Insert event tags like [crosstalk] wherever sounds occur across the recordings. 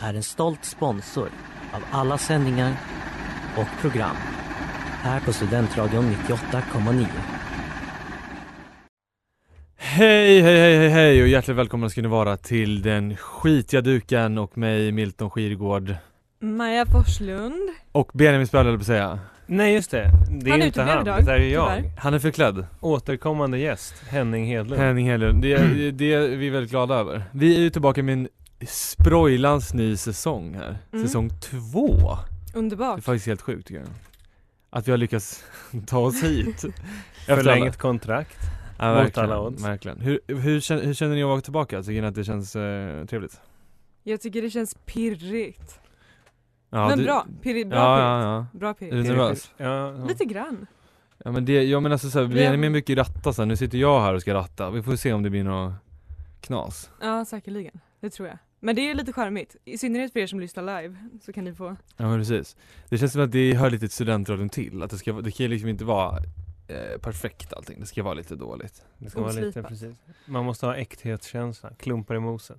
är en stolt sponsor av alla sändningar och program här på Studentradion 98,9. Hej, hej, hej, hej, hej och hjärtligt välkomna ska ni vara till den skitiga duken och mig Milton Skirgård Maja Forslund. och Benjamin Spöll höll jag på att säga. Nej just det, det är Han inte uteblev han, idag, det där är jag. tyvärr. Han är förklädd. Återkommande gäst, Henning Hedlund. Henning Hedlund. Det, är- det är vi väldigt glada över. Vi är ju tillbaka med en sprojlans ny säsong här. Mm. Säsong två. Det är Underbart. faktiskt helt sjukt tycker jag. Att vi har lyckats [laughs] ta oss [laughs] hit. Förlängt kontrakt. Ja, mot verkligen, alla odds. Verkligen. Hur, hur, känner, hur känner ni att vara tillbaka? Tycker ni att det känns eh, trevligt? Jag tycker det känns pirrigt. Ja, men du- bra. Pirrigt. Bra Ja, pirrigt. ja, ja. Bra Är du pirrigt. nervös? Ja, ja. Lite grann. Ja men det, ja men alltså såhär, Vi har- Benjamin brukar ju ratta sen, nu sitter jag här och ska ratta, vi får se om det blir något knas Ja, säkerligen. Det tror jag. Men det är lite charmigt. I synnerhet för er som lyssnar live så kan ni få. Ja men precis Det känns som att det hör lite till studentradion till, att det ska, det kan ju liksom inte vara eh, perfekt allting, det ska vara lite dåligt Det ska vara lite, oslipat. precis. Man måste ha äkthetskänsla, klumpar i moset.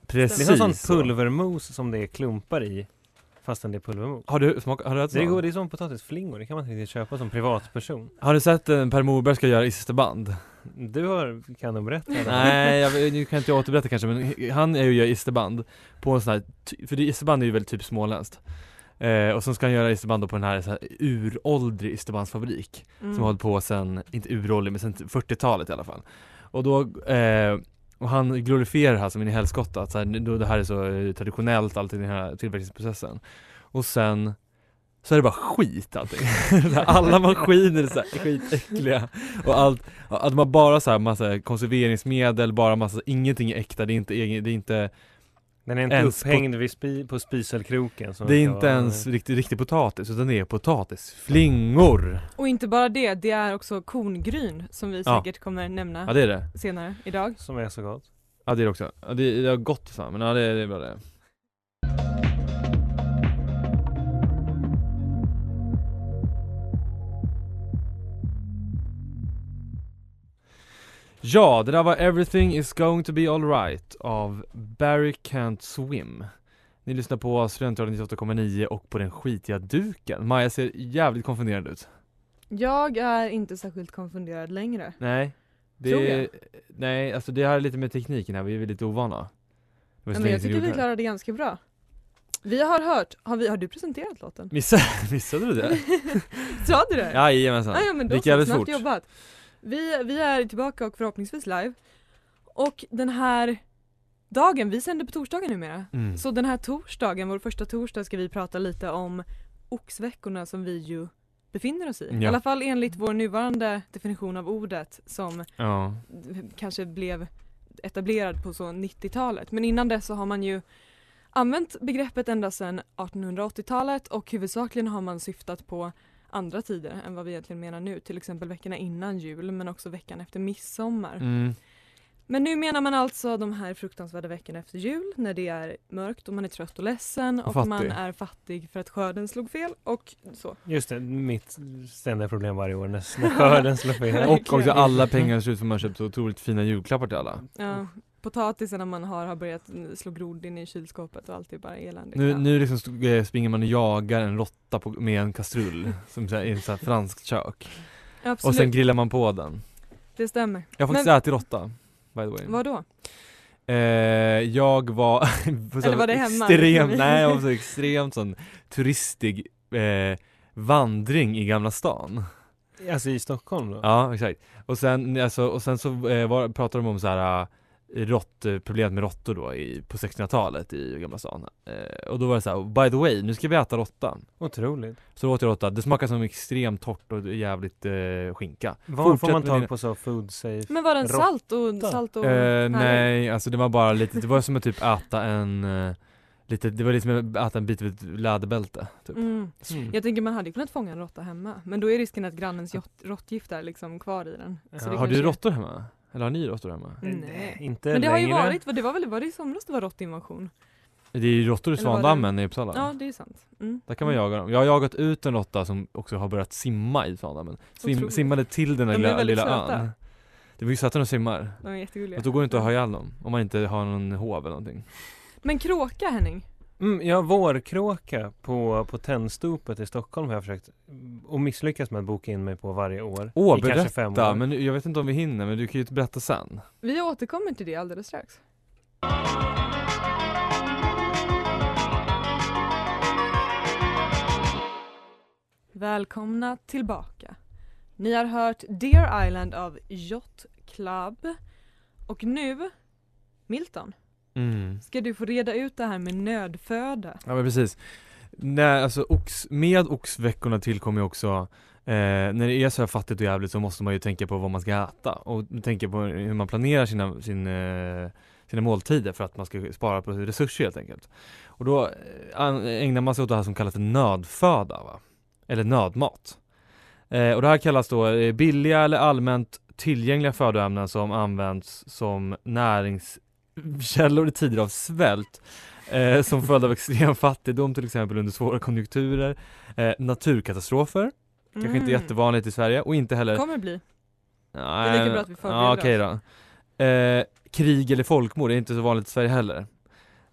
Det Precis är någon sån pulvermos som det är klumpar i, fastän det är pulvermos. Har du smakat, har du ätit Det, sån? går, det är som potatisflingor, det kan man inte riktigt köpa som privatperson. Har du sett en Per Morberg ska göra i sista band? Du har, kan de berätta det? [laughs] här? Nej, jag, nu kan jag inte återberätta kanske men han är ju och gör isterband på en sån här, ty- för det- isterband är ju väldigt typ småländskt eh, Och sen ska han göra isterband då på den här, så här uråldrig isterbandsfabrik Mm. som har hållit på sen, inte uråldrig men sen 40-talet i alla fall. Och då, eh, och han glorifierar det här som en i helskotta, att så här, nu- då det här är så eh, traditionellt allting i den här tillverkningsprocessen. Och sen så är det bara skit allting. [laughs] Så här, Alla maskiner är så här skitäckliga och allt, att man bara så här massa konserveringsmedel, bara massa, ingenting är äkta, det är inte egen, det är inte, Den är inte Ens på- upphängd vid spi, på spiselkroken. som det är ska inte vara- ens riktigt, riktigt potatis utan det är potatisflingor. Och inte bara det, det är också korngryn som vi Ja. säkert kommer nämna Ja det är det. senare idag. Som är så gott. Ja det är det också. Ja, det, det har gått så här, men ja det, det är bra det. Ja, det där var Everything is going to be alright av Barry Can't Swim. Ni lyssnar på Studentradion 98,9 och på den skitiga duken. Maja ser jävligt konfunderad ut. Jag är inte särskilt konfunderad längre. Nej. Det, Tror jag. Nej, alltså det här är lite med tekniken här, vi är lite ovana. Det var så Men länge jag sedan tycker vi gjorde vi det här. klarade det ganska bra. Vi har hört, har, vi, har du presenterat [laughs] låten? Missade, missade du det? Sa du det? Jajamensan. Ja, ja men då Gick så, jävligt snabbt fort. jobbat. Vi, vi är tillbaka och förhoppningsvis live. Och den här dagen, vi sänder på torsdagen numera. Mm. Så den här torsdagen, vår första torsdag, ska vi prata lite om oxveckorna som vi ju befinner oss i. Ja. I alla fall enligt vår nuvarande definition av ordet som Ja. kanske blev etablerad på så 90-talet. Men innan dess så har man ju använt begreppet ända sedan 1880-talet och huvudsakligen har man syftat på andra tider än vad vi egentligen menar nu, till exempel veckorna innan jul men också veckan efter midsommar. [laughs] Mm. Men nu menar man alltså de här fruktansvärda veckorna efter jul när det är mörkt och man är trött och ledsen Och och, fattig. man är fattig för att skörden slog fel och så. Just det, mitt ständiga problem varje år när när skörden slår fel. Och också alla pengar ser ut som man köpt så otroligt fina julklappar till alla. Ja, potatisen man har har börjat mm, slå grod in i kylskåpet och allt är bara eländigt. Nu, Ja. nu liksom st- eh, springer man och jagar en råtta på- med en kastrull [laughs] som så här, i ett så här franskt kök. Absolut, Och sen grillar man på den. det stämmer. Jag har faktiskt Men- ätit råtta. By the way. Vad då? Eh, jag var, [laughs] på så Eller var det hemma? extrem, nej jag var så extremt sån turistig eh, vandring i Gamla stan. Alltså i Stockholm då? Ja, exakt. Och sen, alltså, och sen så eh, var, pratade de om så här eh, rått, eh, problemet med råttor då i, på 1600-talet i Gamla stan. Eh, och då var det så här, by the way, nu ska vi äta råttan. Otroligt. Så åt jag råtta, det smakar som extremt torrt och jävligt eh, skinka. Var Fortsätt får man med tag dina- på så food safe? Men var den Råtta. salt och salt och Eh, nej, alltså det var bara lite, det var som att typ äta en, eh, lite, det var lite som att äta en bit av ett läderbälte. Typ. Mm. Mm. Jag tänker man hade kunnat fånga en råtta hemma men då är risken att grannens jott- råttgift är liksom kvar i den. Så Ja. det Har du kanske- råttor hemma? Eller har ni råttor hemma? Nej. Inte Men det har längre. ju varit, det var väl var det i somras det var råttinvasion? Det är ju råttor i Eller var det- Svandammen i Uppsala. Ja det är sant. Mm. Där kan man jaga dem. Jag har jagat ut en råtta som också har börjat simma i Sandhamn. Sim, Otroligt. simmade till den där De är lilla, väldigt lilla söta. ön. Det var ju söta när de simmar. De är jättegulliga. Och då går det inte att ha ihjäl dem. Om man inte har någon hov eller någonting. Men kråka Henning? Mm, jag har vårkråka på, på Tennstopet i Stockholm har jag försökt mm, och misslyckats med att boka in mig på varje år. Åh, I kanske fem berätta! år. Men jag vet inte om vi hinner, men du kan ju berätta sen. Vi återkommer till det alldeles strax. Välkomna tillbaka. Ni har hört Dear Island av Yacht Club. Och nu, Milton, Mm. ska du få reda ut det här med nödföda. Ja men precis. När, alltså, ox, med oxveckorna tillkommer ju också eh, när det är så här fattigt och jävligt så måste man ju tänka på vad man ska äta och tänka på hur man planerar sina, sin, eh, sina måltider för att man ska spara på resurser helt enkelt. Och då eh, an- ägnar man sig åt det här som kallas för nödföda va? Eller nödmat. Eh, och det här kallas då eh, billiga eller allmänt tillgängliga födoämnen som används som näringskällor i tider av svält eh, som följd av extrem fattigdom till exempel under svåra konjunkturer, eh, naturkatastrofer, kanske inte Mm. jättevanligt i Sverige och inte heller Kommer bli. Nej, Det är lika bra att vi förbereder ja, okej då. Eh, krig eller folkmord är inte så vanligt i Sverige heller.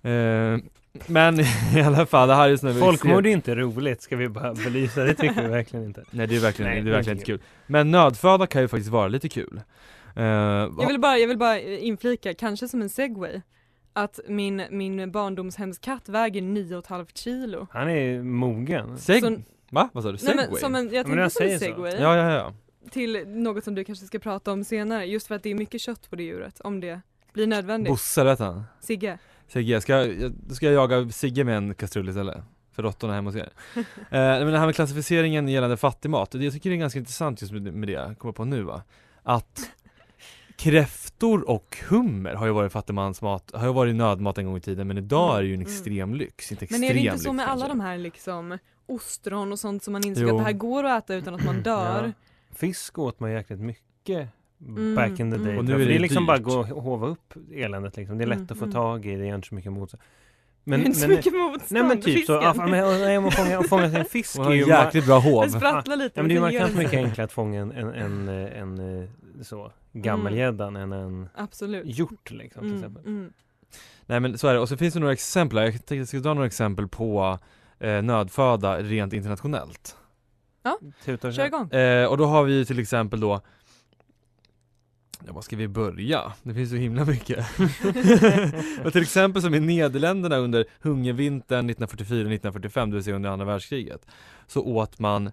Eh, men [laughs] i alla fall, det här är just nu Folkmord är inte roligt, ska vi bara belysa. Det tycker vi verkligen inte. Nej det är verkligen, Nej, det det är är verkligen inte inte kul. Men nödföda kan ju faktiskt vara lite kul. Eh, Jag vill bara, jag vill bara eh, inflika, kanske som en segway, att min, min barndomshemskatt väger 9,5 kilo. Han är mogen. seg- som- Va? Vad sa du? Nej, Segway? men, som en, jag men tänkte jag som en säger så. segway Ja, ja, ja. till något som du kanske ska prata om senare just för att det är mycket kött på det djuret om det blir nödvändigt. Bosse vet han. Sigge, Sigge, ska jag, jag- då ska jag jaga Sigge med en kastrull istället? För råttorna [laughs] hemma hos er. eh, men det här med klassificeringen gällande fattigmat, det jag tycker det är ganska intressant just med, med det jag kommer på nu va. Att kräftor och hummer har ju varit fattigmansmat, har ju varit nödmat en gång i tiden men idag är det ju en Mm. extrem lyx, inte extrem men är det inte lyx så med alla kanske. de här liksom ostron och sånt som man insåg Jo. att det här går att äta utan att man dör? Fisk åt man jäkligt mycket Mm, back in the day. mm. Och nu är det, är liksom bara att gå och hova upp eländet liksom. Det är lätt Mm, att få mm. tag i, det är inte så mycket motstånd. Men, [laughs] det är inte så mycket motstånd, nej men typ så, ja, fan, men, och- nej, [laughs] man fånga, att fånga en fisk Man är har ju... en ma- jäkligt bra Den hov. sprattlar lite. Ja, men det är ju men sen gör markant den sig. mycket enklare att fånga en, en, en, eh, en, eh, så, gammelgäddan än en Absolut. hjort liksom till Mm, exempel. mm. Nej men så är det, och så finns det några exempel, här. jag tänkte jag ska dra några exempel på eh, nödföda rent internationellt. Tutar Kör igång. Eh, och då har vi ju till exempel då Ja, var ska vi börja? Det finns så himla mycket. och till exempel som i Nederländerna under hungervintern 1944-1945, det vill säga under andra världskriget, så åt man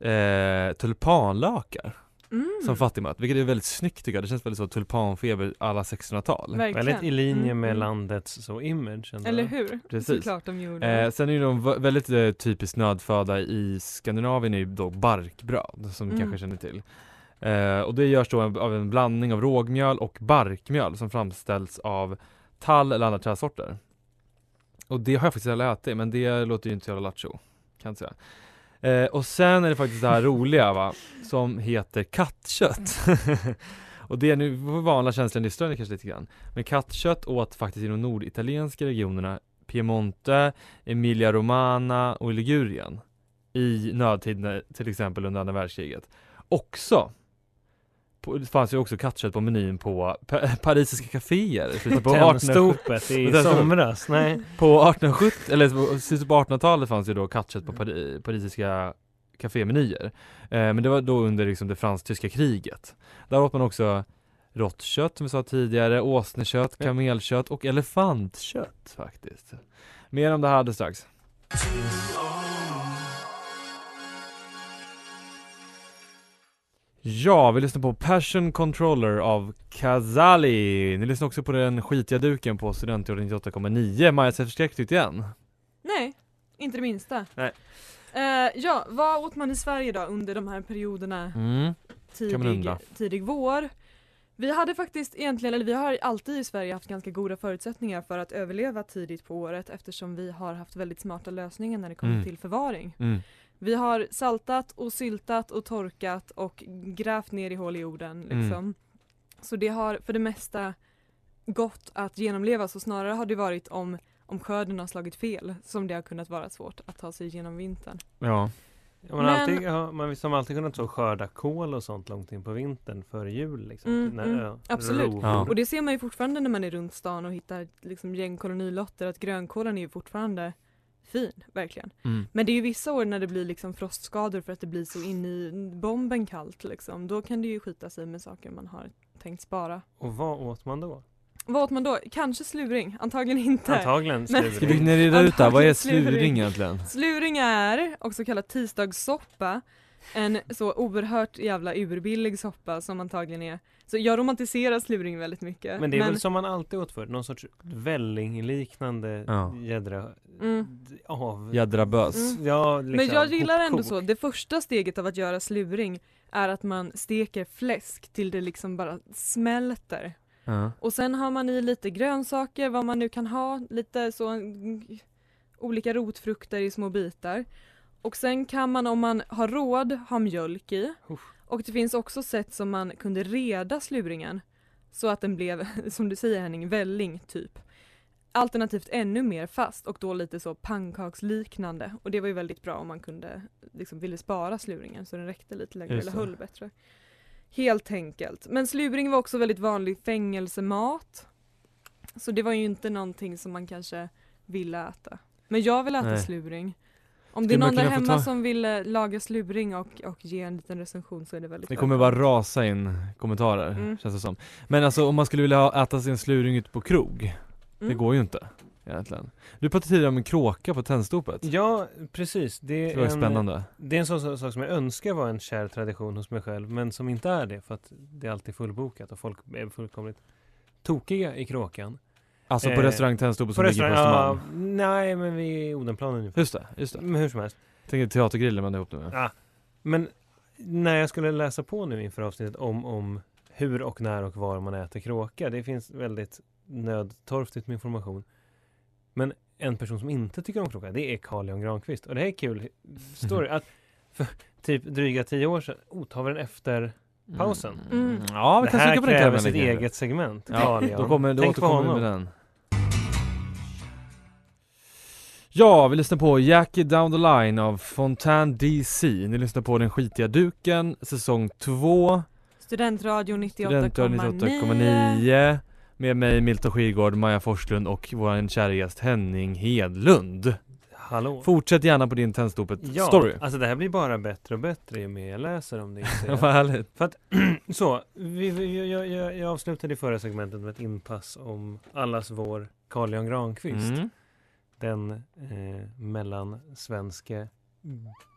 eh, tulpanlökar Mm. som fattigmat, vilket är väldigt snyggt tycker jag. Det känns väldigt så tulpanfeber alla 1600-tal. Verkligen. Väldigt i linje Mm, med mm. landets så image. ändå. Eller hur? Precis. Såklart de gjorde. Eh, sen är ju de v- väldigt eh, typiskt nödföda i Skandinavien är ju då barkbröd som ni Mm. kanske känner till. Eh, och det görs då av- av en blandning av rågmjöl och barkmjöl som framställs av tall eller andra träsorter. Och det har jag faktiskt aldrig ätit men det låter ju inte så jävla lattjo kan jag säga. Eh, och sen är det faktiskt det här roliga va, som heter kattkött. [laughs] och det är nu, vi får vanliga känslan, det stör ni kanske lite grann. Men kattkött åt faktiskt i de norditalienska regionerna Piemonte, Emilia Romana och Ligurien i nödtider, till exempel under andra världskriget. Också på, det fanns ju också kattkött på menyn på pa- [laughs] parisiska kaféer i slutet på 1800-talet. [laughs] Tennstopet i Tennstopet. somras, nej. På 1870, eller på- slutet på 1800-talet fanns ju då kattkött på pari, parisiska kafémenyer. Eh, men det var då under liksom det fransk-tyska kriget. Där åt man också råttkött som vi sa tidigare, åsnekött, kamelkött och elefantkött faktiskt. Mer om det här alldeles strax. Ja, vi lyssnar på Passion Controller av Kazali. Ni lyssnar också på den skitiga duken på Studentradion 98,9. Maja ser förskräckt ut igen. Nej, inte det minsta. Nej. Eh, ja, vad åt man i Sverige då under de här perioderna Mm. man tidig, undra. tidig vår? Vi hade faktiskt egentligen, eller vi har alltid i Sverige haft ganska goda förutsättningar för att överleva tidigt på året eftersom vi har haft väldigt smarta lösningar när det kommer Mm. till förvaring. Mm. Vi har saltat och syltat och torkat och grävt ner i hål i jorden Mm. liksom. Så det har för det mesta gått att genomleva så snarare har det varit om, om skörden har slagit fel som det har kunnat vara svårt att ta sig igenom vintern. Ja. Ja, man, Men- alltid, ja, man har alltid kunnat så skörda kol och sånt långt in på vintern före jul. Liksom, Mm, typ när, mm, ja, absolut. rovor. Ja. Och det ser man ju fortfarande när man är runt stan och hittar liksom gängkolonilotter att grönkålen är ju fortfarande fin, verkligen. Mm. Men det är ju vissa år när det blir liksom frostskador för att det blir så in i bomben kallt liksom. Då kan det ju skita sig med saker man har tänkt spara. Och vad åt man då? Vad åt man då? Kanske sluring? Antagligen inte. Antagligen Ska vi sluring. ni reda ut det här? Vad är Antagligen sluring sluring. egentligen? Sluring är, också kallat tisdagssoppa, en så oerhört jävla urbillig soppa som antagligen är. Så jag romantiserar sluring väldigt mycket. Men det är väl som man alltid åt förr, någon sorts vällingliknande Ja. jädra Mm. d- av... Jädra bös. Mm. Ja, liksom, men jag gillar ändå hopkok. så, det första steget av att göra sluring är att man steker fläsk till det liksom bara smälter. Ja. Och sen har man i lite grönsaker, vad man nu kan ha, lite så mm, olika rotfrukter i små bitar. Och sen kan man om man har råd ha mjölk i. Uff. Och det finns också sätt som man kunde reda sluringen så att den blev, [laughs] som du säger Henning, välling typ. Alternativt ännu mer fast och då lite så pannkaksliknande. Och det var ju väldigt bra om man kunde, liksom ville spara sluringen så den räckte lite längre Just eller det. höll bättre. Helt enkelt. Men sluring var också väldigt vanlig fängelsemat. Så det var ju inte någonting som man kanske ville äta. Men jag vill äta Nej. sluring. Om det Skulle är man någon där kunna få hemma ta- som vill eh, laga sluring och, och ge en liten recension så är det väldigt Det kommer välkommet. bara rasa in kommentarer, Mm. känns det som. Men alltså om man skulle vilja ha- äta sin sluring ute på krog, det Mm. går ju inte egentligen. Du pratade tidigare om en kråka på tändstopet. Ja, precis. Det Det var är, ju en, spännande. det är en sån, sån sak som jag önskar var en kär tradition hos mig själv, men som inte är det för att det är alltid fullbokat och folk är fullkomligt tokiga i kråkan. Alltså på eh, restaurang Tändstopet som ligger på ja, Östermalm. nej, men vi är i Odenplan ungefär. Just det, just det. Men hur som helst. Tänker teatergrillen man ihop det med. Ja. Men när jag skulle läsa på nu inför avsnittet om, om hur och när och var man äter kråka, det finns väldigt nödtorftigt med information. Men en person som inte tycker om kråka, det är Carl Jan Granqvist. Och det här är kul [laughs] story, att för typ dryga tio år sedan, oh, tar vi den efter pausen. Mm. Ja, vi det kan stryka här på den kräver krämen sitt lite. eget segment. Ja, Carl Jan. då kommer, då Tänk på återkommer vi honom. med den. Ja, vi lyssnar på Jackie Down the Line av Fontaine DC. Ni lyssnar på Den skitiga duken, säsong 2, Studentradion 98,9. Studentradion 98,9 med mig Milton Skirgård, Maja Forslund och vår kära gäst Henning Hedlund. Hallå. Fortsätt gärna på din Ja, Tändstopet-story. alltså det här blir bara bättre och bättre ju mer jag läser om [laughs] det. inser jag. Vad härligt. [clears throat] Så, vi, vi, jag, jag, jag avslutade i förra segmentet med ett inpass om allas vår Carl Jan Granqvist. Mm. Den eh, mellansvenske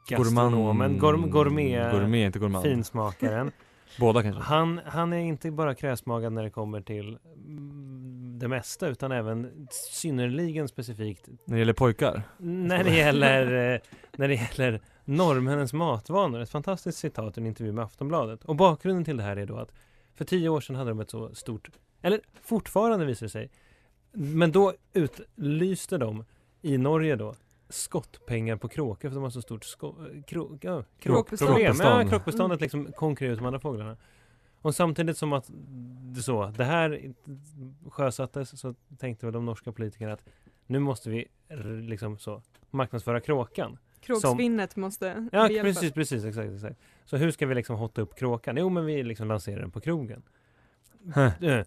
gastronomen, gourm, gourmet, Ah. Gourmet, inte gourmand. finsmakaren. Båda kanske. Han, han är inte bara kräsmagad när det kommer till mm, det mesta utan även synnerligen specifikt När det gäller pojkar. när det gäller, eh, när det gäller norrmännens matvanor. Ett fantastiskt citat i en intervju med Aftonbladet. Och bakgrunden till det här är då att för tio år sedan hade de ett så stort, eller fortfarande visar det sig, men då utlyste de i Norge då skottpengar på kråkor för de har så stort sko- eh, krå- ja, Kråkbestånd. kråkproblem. Ja, Kråkbestånd. kråkbeståndet liksom konkurrerar ut de andra fåglarna. Och samtidigt som att det, så, det här sjösattes så tänkte väl de norska politikerna att nu måste vi r- liksom så marknadsföra kråkan. Kråksvinnet måste Ja, behjälpas. precis, precis, exakt, exakt. Så hur ska vi liksom hotta upp kråkan? Jo, men vi liksom lanserar den på krogen. Heh. [laughs]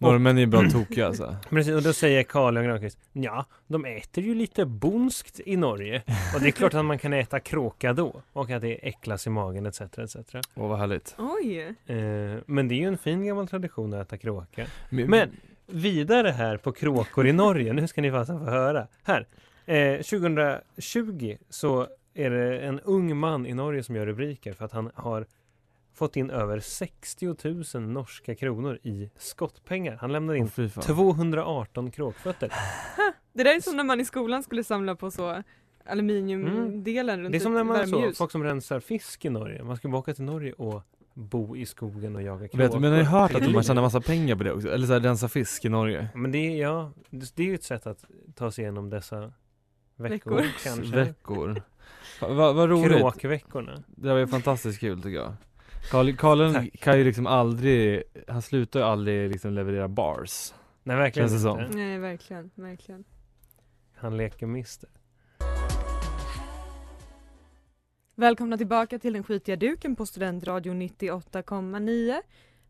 Eh, Norrmän är ju bra tokiga alltså. Precis, och då säger Carl Jan Granqvist, ja, de äter ju lite bonskt i Norge. Och det är klart att man kan äta kråka då. Och att det äcklas i magen etc. etc. Åh vad härligt. Oj! Eh, men det är ju en fin gammal tradition att äta kråka. Men, Men vidare här på kråkor i Norge, nu ska ni fasen få höra. Här, eh, 2020 så är det en ung man i Norge som gör rubriker för att han har fått in över 60 000 norska kronor i skottpengar. Han lämnar Åh, in fy fan. 218 kråkfötter. Det där är som när man i skolan skulle samla på så aluminiumdelen runt Mm. Det är som när man så, värmeljus. folk som rensar fisk i Norge. Man ska bara åka till Norge och bo i skogen och jaga kråkor. Vet du, men har ni hört att Eller- man tjänar massa pengar på det också? Eller så här, rensa fisk i Norge? Men det är, ja, det det är ju ett sätt att ta sig igenom dessa veckor, Veckor. kanske. Veckor. Fan, Vad vad roligt. Kråkveckorna. Det var ju fantastiskt kul tycker jag. Karl, Karlen Tack. kan ju liksom aldrig, han slutar ju aldrig liksom leverera bars. Nej, verkligen Känns det som. inte. Nej, verkligen, verkligen. Han leker mister. Välkomna tillbaka till den skitiga duken på Studentradion 98,9.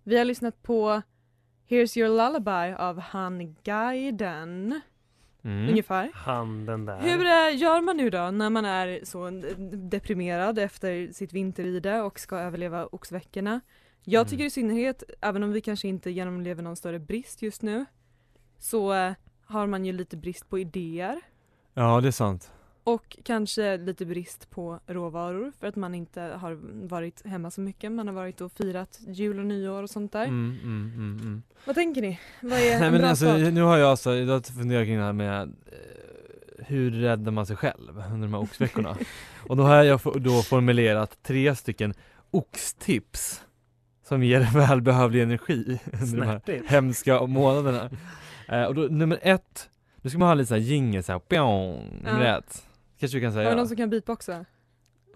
Vi har lyssnat på Here's your lullaby av Han Guiden, Mm. ungefär. Han den där. Hur eh, gör man nu då när man är så eh, deprimerad efter sitt vinterride och ska överleva oxveckorna? Jag Mm. tycker i synnerhet, även om vi kanske inte genomlever någon större brist just nu, så eh, har man ju lite brist på idéer Ja det är sant. och kanske lite brist på råvaror för att man inte har varit hemma så mycket. Man har varit och firat jul och nyår och sånt där. Mm, mm, mm, mm. Vad tänker ni? Vad [laughs] är Nej en men bra alltså start? nu har jag alltså, jag funderar kring det här med eh, hur räddar man sig själv under de här [laughs] oxveckorna? Och då har jag fo- då formulerat tre stycken oxtips som ger [laughs] välbehövlig energi under de här Snärtigt. [laughs] hemska månaderna. Eh, och då, nummer ett, nu ska man ha lite såhär jingel såhär, pjong, nummer Ja. ett. Kanske du kan Har vi säga? någon som kan beatboxa?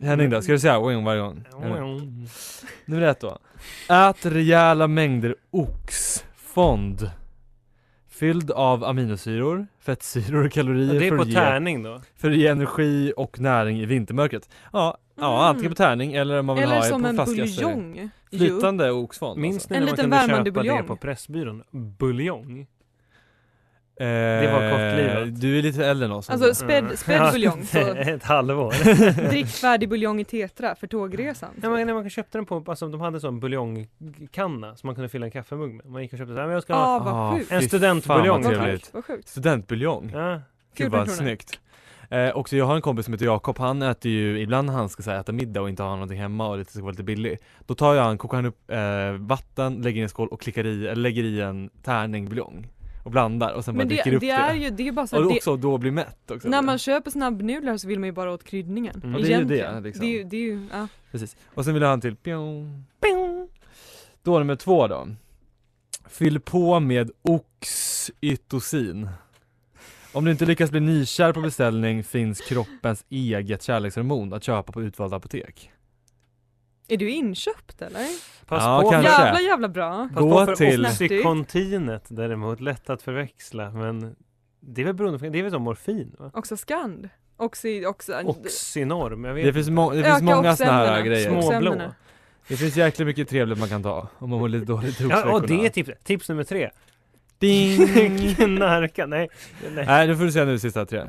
Henning då, ska du säga wing varje gång? Eller? Mm. Nummer ett då. Ät rejäla mängder oxfond. Fylld av aminosyror, fettsyror och kalorier Det är för, på att ge, tärning då. för att ge energi och näring i vintermörkret. Ja, ja antingen på tärning eller om man vill Mm. Eller ha som på en flaska. så är det buljong? Jo. Flytande oxfond Minns ni En när man liten kunde köpa värmande det buljong. på Pressbyrån? Buljong? Eh, det var kortlivat. Du är lite äldre än oss. Alltså spädd, Mm. Ja, spädd buljong, så [laughs] Ett halvår. [laughs] drick färdig buljong i tetra för tågresan. Nej, men, när man köpte den på, alltså de hade en sån buljongkanna som man kunde fylla en kaffemugg med. Man gick och köpte så här, men jag ska ha Ah, vad sjukt. fy En studentbuljong. fan, vad Vad trevligt. sjukt, vad sjukt. Studentbuljong. ja, Gud 14 vad kronor. snyggt. Eh, också jag har en kompis som heter Jakob, han äter ju, ibland när han ska så här, äta middag och inte ha någonting hemma och det ska vara lite billig Då tar jag han, kokar han upp eh, vatten, lägger i en skål och klickar i, eller lägger i en tärning buljong Och blandar och sen bara Men dricker det, upp det, det är ju, det är bara så Och här, också då blir mätt det, också när man köper snabbnudlar så vill man ju bara åt kryddningen. Mm. Ja, det är ju det, egentligen. liksom. det, är ju- det är ju, ja. Precis, och sen vill jag ha en till Pjong. Pjong. Då nummer två då Fyll på med oxytocin Om du inte lyckas bli nykär på beställning finns kroppens eget kärlekshormon att köpa på utvalda apotek Är du inköpt eller? pass Ja, på. kanske. Pass Jävla jävla bra. Gå på för till- Oxycontinet däremot, lätt att förväxla men det är väl beroende på, det är väl som morfin va? Också skand. Oxy, oxy, Oxynorm, jag vet Det finns, må- det finns Öka många såna här oxämnena. grejer Små- Småblå. oxämnena. Det finns jäkligt mycket trevligt man kan ta om man mår lite dåligt i Ja, och det är oxveckorna. tips, tips [laughs] nummer tre. Ding! Knarka, nej. nej. [laughs] Nej, nu får du säga nu sista tre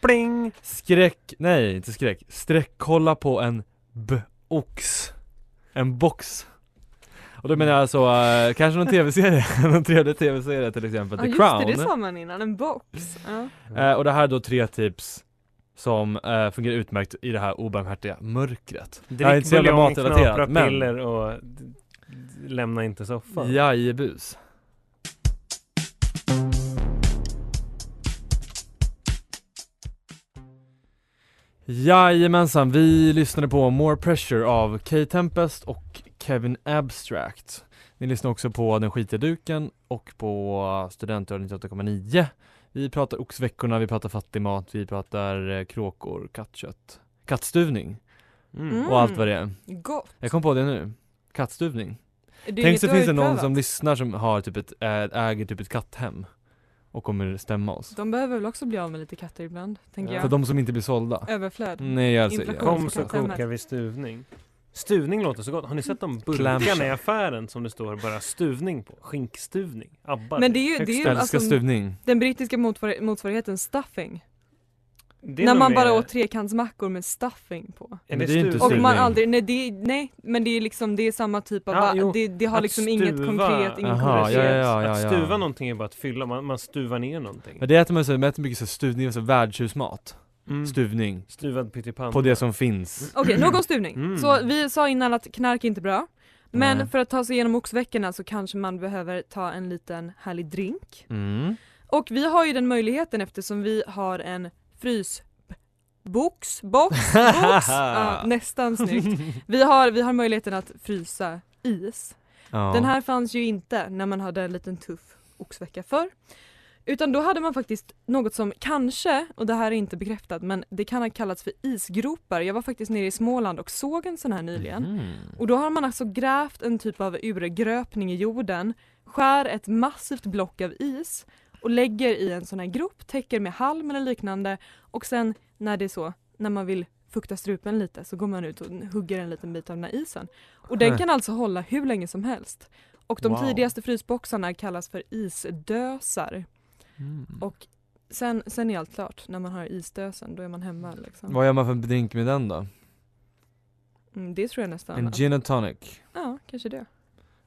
Pling! Skräck, nej inte skräck, sträckkolla på en b-ox En box Och då menar jag alltså, eh, kanske någon tv-serie, [laughs] någon trevlig tv-serie till exempel, Ja The just Crown det, det sa man innan. En box. Ja. Eh, Och det här är då tre tips som eh, fungerar utmärkt i det här obarmhärtiga mörkret Jag är Drick inte så jävla buljong, matrelaterad, knapra men- piller och d- d- lämna inte soffan. Jajebus Jajamensan, vi lyssnade på More Pressure av Kay Tempest och Kevin Abstract Ni lyssnar också på Den skitiga duken och på Studentradion 98,9 Vi pratar oxveckorna, vi pratar fattigmat, vi pratar eh, kråkor, kattkött, kattstuvning Mm. och allt vad det är Gott. Jag kom på det nu, kattstuvning Det är Tänk inget så du har finns det någon utprövat. som lyssnar som har typ ett, ä- äger typ ett katthem och kommer stämma oss. De behöver väl också bli av med lite katter ibland, tänker För jag. Alltså, de Mm. som inte blir sålda. Överflöd. Nej jag säger Inflation. Kom så kokar vi stuvning. Stuvning låter så gott. Har ni sett de Clamshell. burkarna i affären som det står bara stuvning på? Skinkstuvning. Abbar. Men det är ju, Högst det är ju jag älskar alltså, stuvning. den brittiska motsvar- motsvarigheten stuffing. Det är När nog man mer- bara åt trekantsmackor med stuffing på. Är Men det är ju inte Och stuvning? stuvning. man aldrig, nej, det, nej men det är liksom det är samma typ av, Ja, va- jo, det, det har att liksom stuva. inget konkret, ingen Jaha, ja, konkret. ja, ja, Att ja. stuva någonting är bara att fylla, man, man stuvar ner någonting. Men det äter man ju så man äter mycket så stuvning, alltså värdshusmat. Mm. stuvning Stuvad pyttipanna. på det som finns. Okej, någon stuvning. Mm. Så vi sa innan att knark är inte bra. Men Nej. för att ta sig igenom oxveckorna så kanske man behöver ta en liten härlig drink. Mm. Och vi har ju den möjligheten eftersom vi har en frys... Box, box, box. ja, nästan snyggt. Vi har, vi har möjligheten att frysa is. Ja. Den här fanns ju inte när man hade en liten tuff oxvecka förr. Utan då hade man faktiskt något som kanske, och det här är inte bekräftat, men det kan ha kallats för isgropar. Jag var faktiskt nere i Småland och såg en sån här nyligen. Mm. Och då har man alltså grävt en typ av urgröpning i jorden, skär ett massivt block av is och lägger i en sån här grop, täcker med halm eller liknande och sen när det är så, när man vill fukta strupen lite så går man ut och hugger en liten bit av den här isen. Och den kan alltså hålla hur länge som helst. Och de Wow. tidigaste frysboxarna kallas för isdösar. Mm. Och sen, sen är allt klart, när man har isdösen då är man hemma liksom. Vad gör man för drink med den då? Mm, det tror jag nästan. En att- gin and tonic? Ja, kanske det.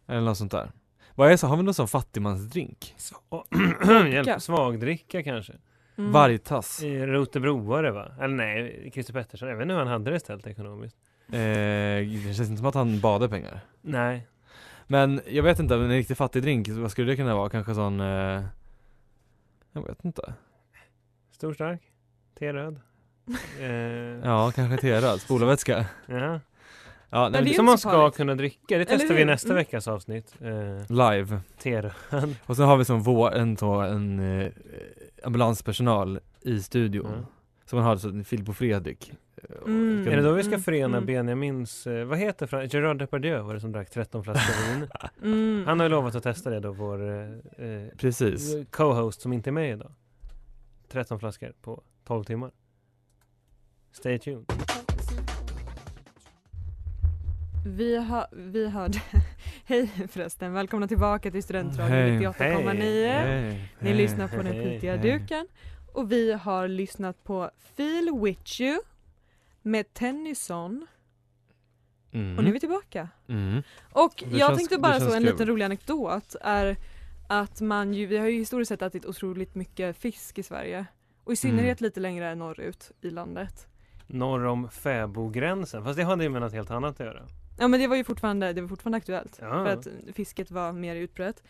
Eller något sånt där. Vad är det så? Har vi någon sån fattigmansdrink? Sva- [clears throat] Hjälp, svagdricka kanske. Mm. Vargtass? Eh, Rotebroare va? Eller nej, Christer Pettersson. Jag vet inte hur han hade det ställt ekonomiskt. Eh, det känns inte som att han badar pengar. Nej. Men jag vet inte, en riktigt fattig drink, vad skulle det kunna vara? Kanske sån... Eh, jag vet inte. Stor stark? [laughs] T-röd? Eh, Ja, kanske terad. Spolarvätska. ja. Ja, nej, det är ju Som inte man så ska farligt. kunna dricka. Det Eller testar vi i hur? nästa Mm. veckas avsnitt. Eh, live. T-röd. Och sen har vi som vår, en, så, en eh, ambulanspersonal i studion. Mm. Så man har så, en Filip och Fredrik. Eh, och Mm. ska- Är det då vi ska Mm, förena mm. Benjamins, eh, vad heter Fran- Gerard Depardieu var det som drack 13 flaskor vin. Mm. Han har ju lovat att testa det då, vår eh, eh, Precis. co-host som inte är med idag. 13 flaskor på 12 timmar. Stay tuned. Vi, hör, vi hörde... [laughs] Hej förresten, välkomna tillbaka till Hej. Studentradion 98,9. Hej, Ni hej. lyssnar på den Hej. skitiga Hej. duken. Och vi har lyssnat på Feel With You med Tennyson. Mm. Och nu är vi tillbaka. Mm. Och Det jag känns- tänkte det bara känns så en kul. liten rolig anekdot är att man ju, vi har ju historiskt sett ätit otroligt mycket fisk i Sverige. Och i synnerhet Mm. lite längre norrut i landet. Norr om Fäbogränsen. Fast det hade ju med något helt annat att göra. Ja men det var ju fortfarande, det var fortfarande aktuellt. Ja. För att fisket var mer utbrett.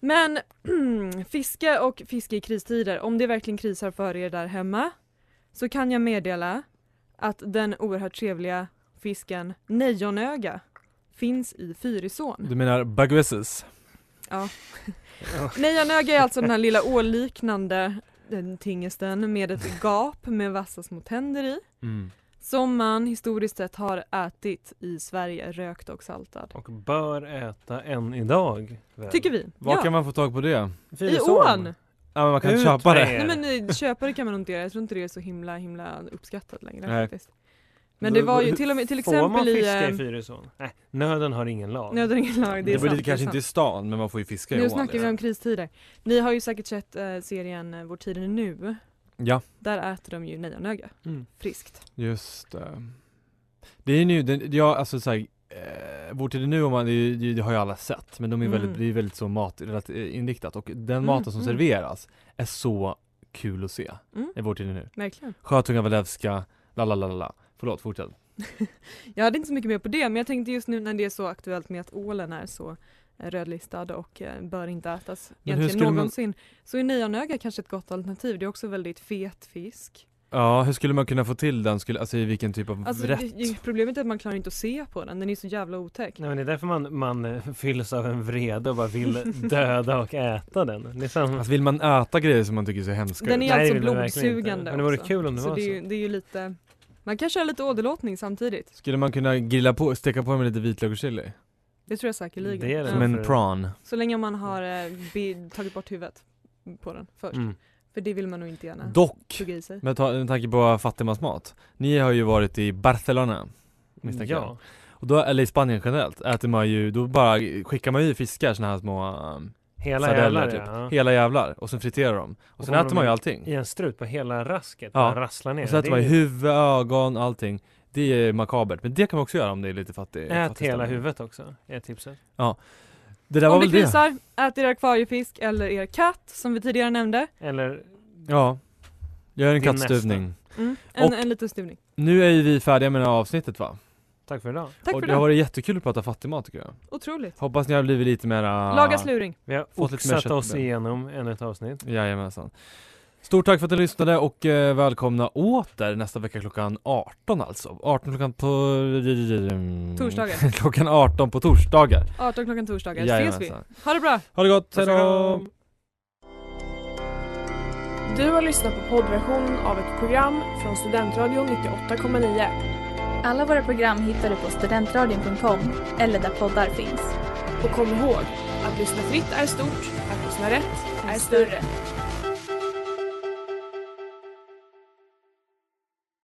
Men [clears throat] fiske och fiske i kristider, om det verkligen krisar för er där hemma så kan jag meddela att den oerhört trevliga fisken nejonöga finns i Fyrisån. Du menar Bagwisses? Nejonöga är alltså den här lilla ålliknande eh, tingesten med ett gap med vassa små tänder i Mm. som man historiskt sett har ätit i Sverige, rökt och saltad. Och bör äta än idag. väl? Tycker vi. Var ja. kan man få tag på det? Fyra I son. ån! Ja men man kan Ut köpa det. med er. Nej men eh, köpare kan man nog inte göra, jag tror inte det är så himla himla uppskattat längre Nej. faktiskt. Men det var ju till och med till exempel Får man i... fiska i eh, Fyrisån? Nej, nöden har ingen lag. Nöden är ingen lag, det är Det blir sant. det kanske inte är i sant. stan men man får ju fiska i liksom. Nu ån. snackar vi om kristider. Ni har ju säkert sett eh, serien eh, Vår tid är nu. Ja, Där äter de ju nejonöga, Mm. friskt. just det. Det är nu, den, ja alltså såhär, eh, Vår tid är nu, om man, det, är ju- det, det har ju alla sett, men de är väldigt, Mm. det är väldigt så matinriktat och den maten som mm. serveras är så kul att se Mm. i Vår tid är nu. Verkligen. Sjötunga Walewska, la la la la la. Förlåt, fortsätt. Jag hade inte så mycket mer på det men jag tänkte just nu när det är så aktuellt med att ålen är så eh, rödlistad och eh, bör inte ätas hur egentligen skulle man- någonsin. Så är nejonöga kanske ett gott alternativ. Det är också väldigt fet fisk. Ja, hur skulle man kunna få till den? Skulle, alltså i vilken typ av Alltså, rätt? det- det- Problemet är att man klarar inte att se på den, den är så jävla otäck. Nej, men det är därför man, man eh, fylls av en vrede och bara [laughs] vill döda och äta den. Det är samma. Alltså vill man äta grejer som man tycker ser hemska Den ut? är Nej, det alltså vill man verkligen inte. blodsugande Men det vore också. kul om det så var det är, ju, så. det är ju lite, man kan köra lite åderlåtning samtidigt. Skulle man kunna grilla på, steka på med lite vitlök och chili? Det tror jag säkerligen. Det är det. Som Ja. en prawn? Så länge man har eh, be, tagit bort huvudet på den först. Mm. För det vill man nog inte gärna Dock! tugga i sig. Med, ta- med tanke på fattigmansmat, ni har ju varit i Barcelona misstänker jag. Ja. Och då, eller i Spanien generellt, äter man ju, då bara skickar man ju fiskar såna här små um, Hela sardeller jävlar, typ. ja. Hela jävlar, och sen friterar de. Och Och sen kommer äter de man ju in- allting. I en strut på hela rasket. Ja. Ja. Rasslar ner. Och så äter Det man ju är- huvud, ögon, allting. Det är makabert, men det kan man också göra om det är lite fattig Ät fattig hela stämning. huvudet också, är tipset. Det där var Om det väl det? krisar, ät er akvariefisk eller er katt som vi tidigare nämnde. Eller Ja. Gör en Din kattstuvning. Mm. En, Och- en liten stuvning. Nu är ju vi färdiga med det här avsnittet va? Tack för idag. Tack och för det har det. varit jättekul att prata fattigmat tycker jag. Otroligt. Hoppas ni har blivit lite Ah. mera... Laga sluring. Vi har Fått lite mer oxat oss köttben. igenom ännu ett avsnitt. Jajamensan. Stort tack för att ni lyssnade och eh, välkomna åter nästa vecka klockan 18 alltså. 18 klockan på... Torsdagar. [laughs] klockan 18 på torsdagar. 18 klockan torsdagar. Ses vi. Jajamensan. Ha det bra. Ha det gott, Puss och hejdå! kram. Du har lyssnat på poddversionen av ett program från Studentradion 98,9. Alla våra program hittar du på studentradion.com eller där poddar finns. Och kom ihåg, att lyssna fritt är stort, att lyssna rätt är större.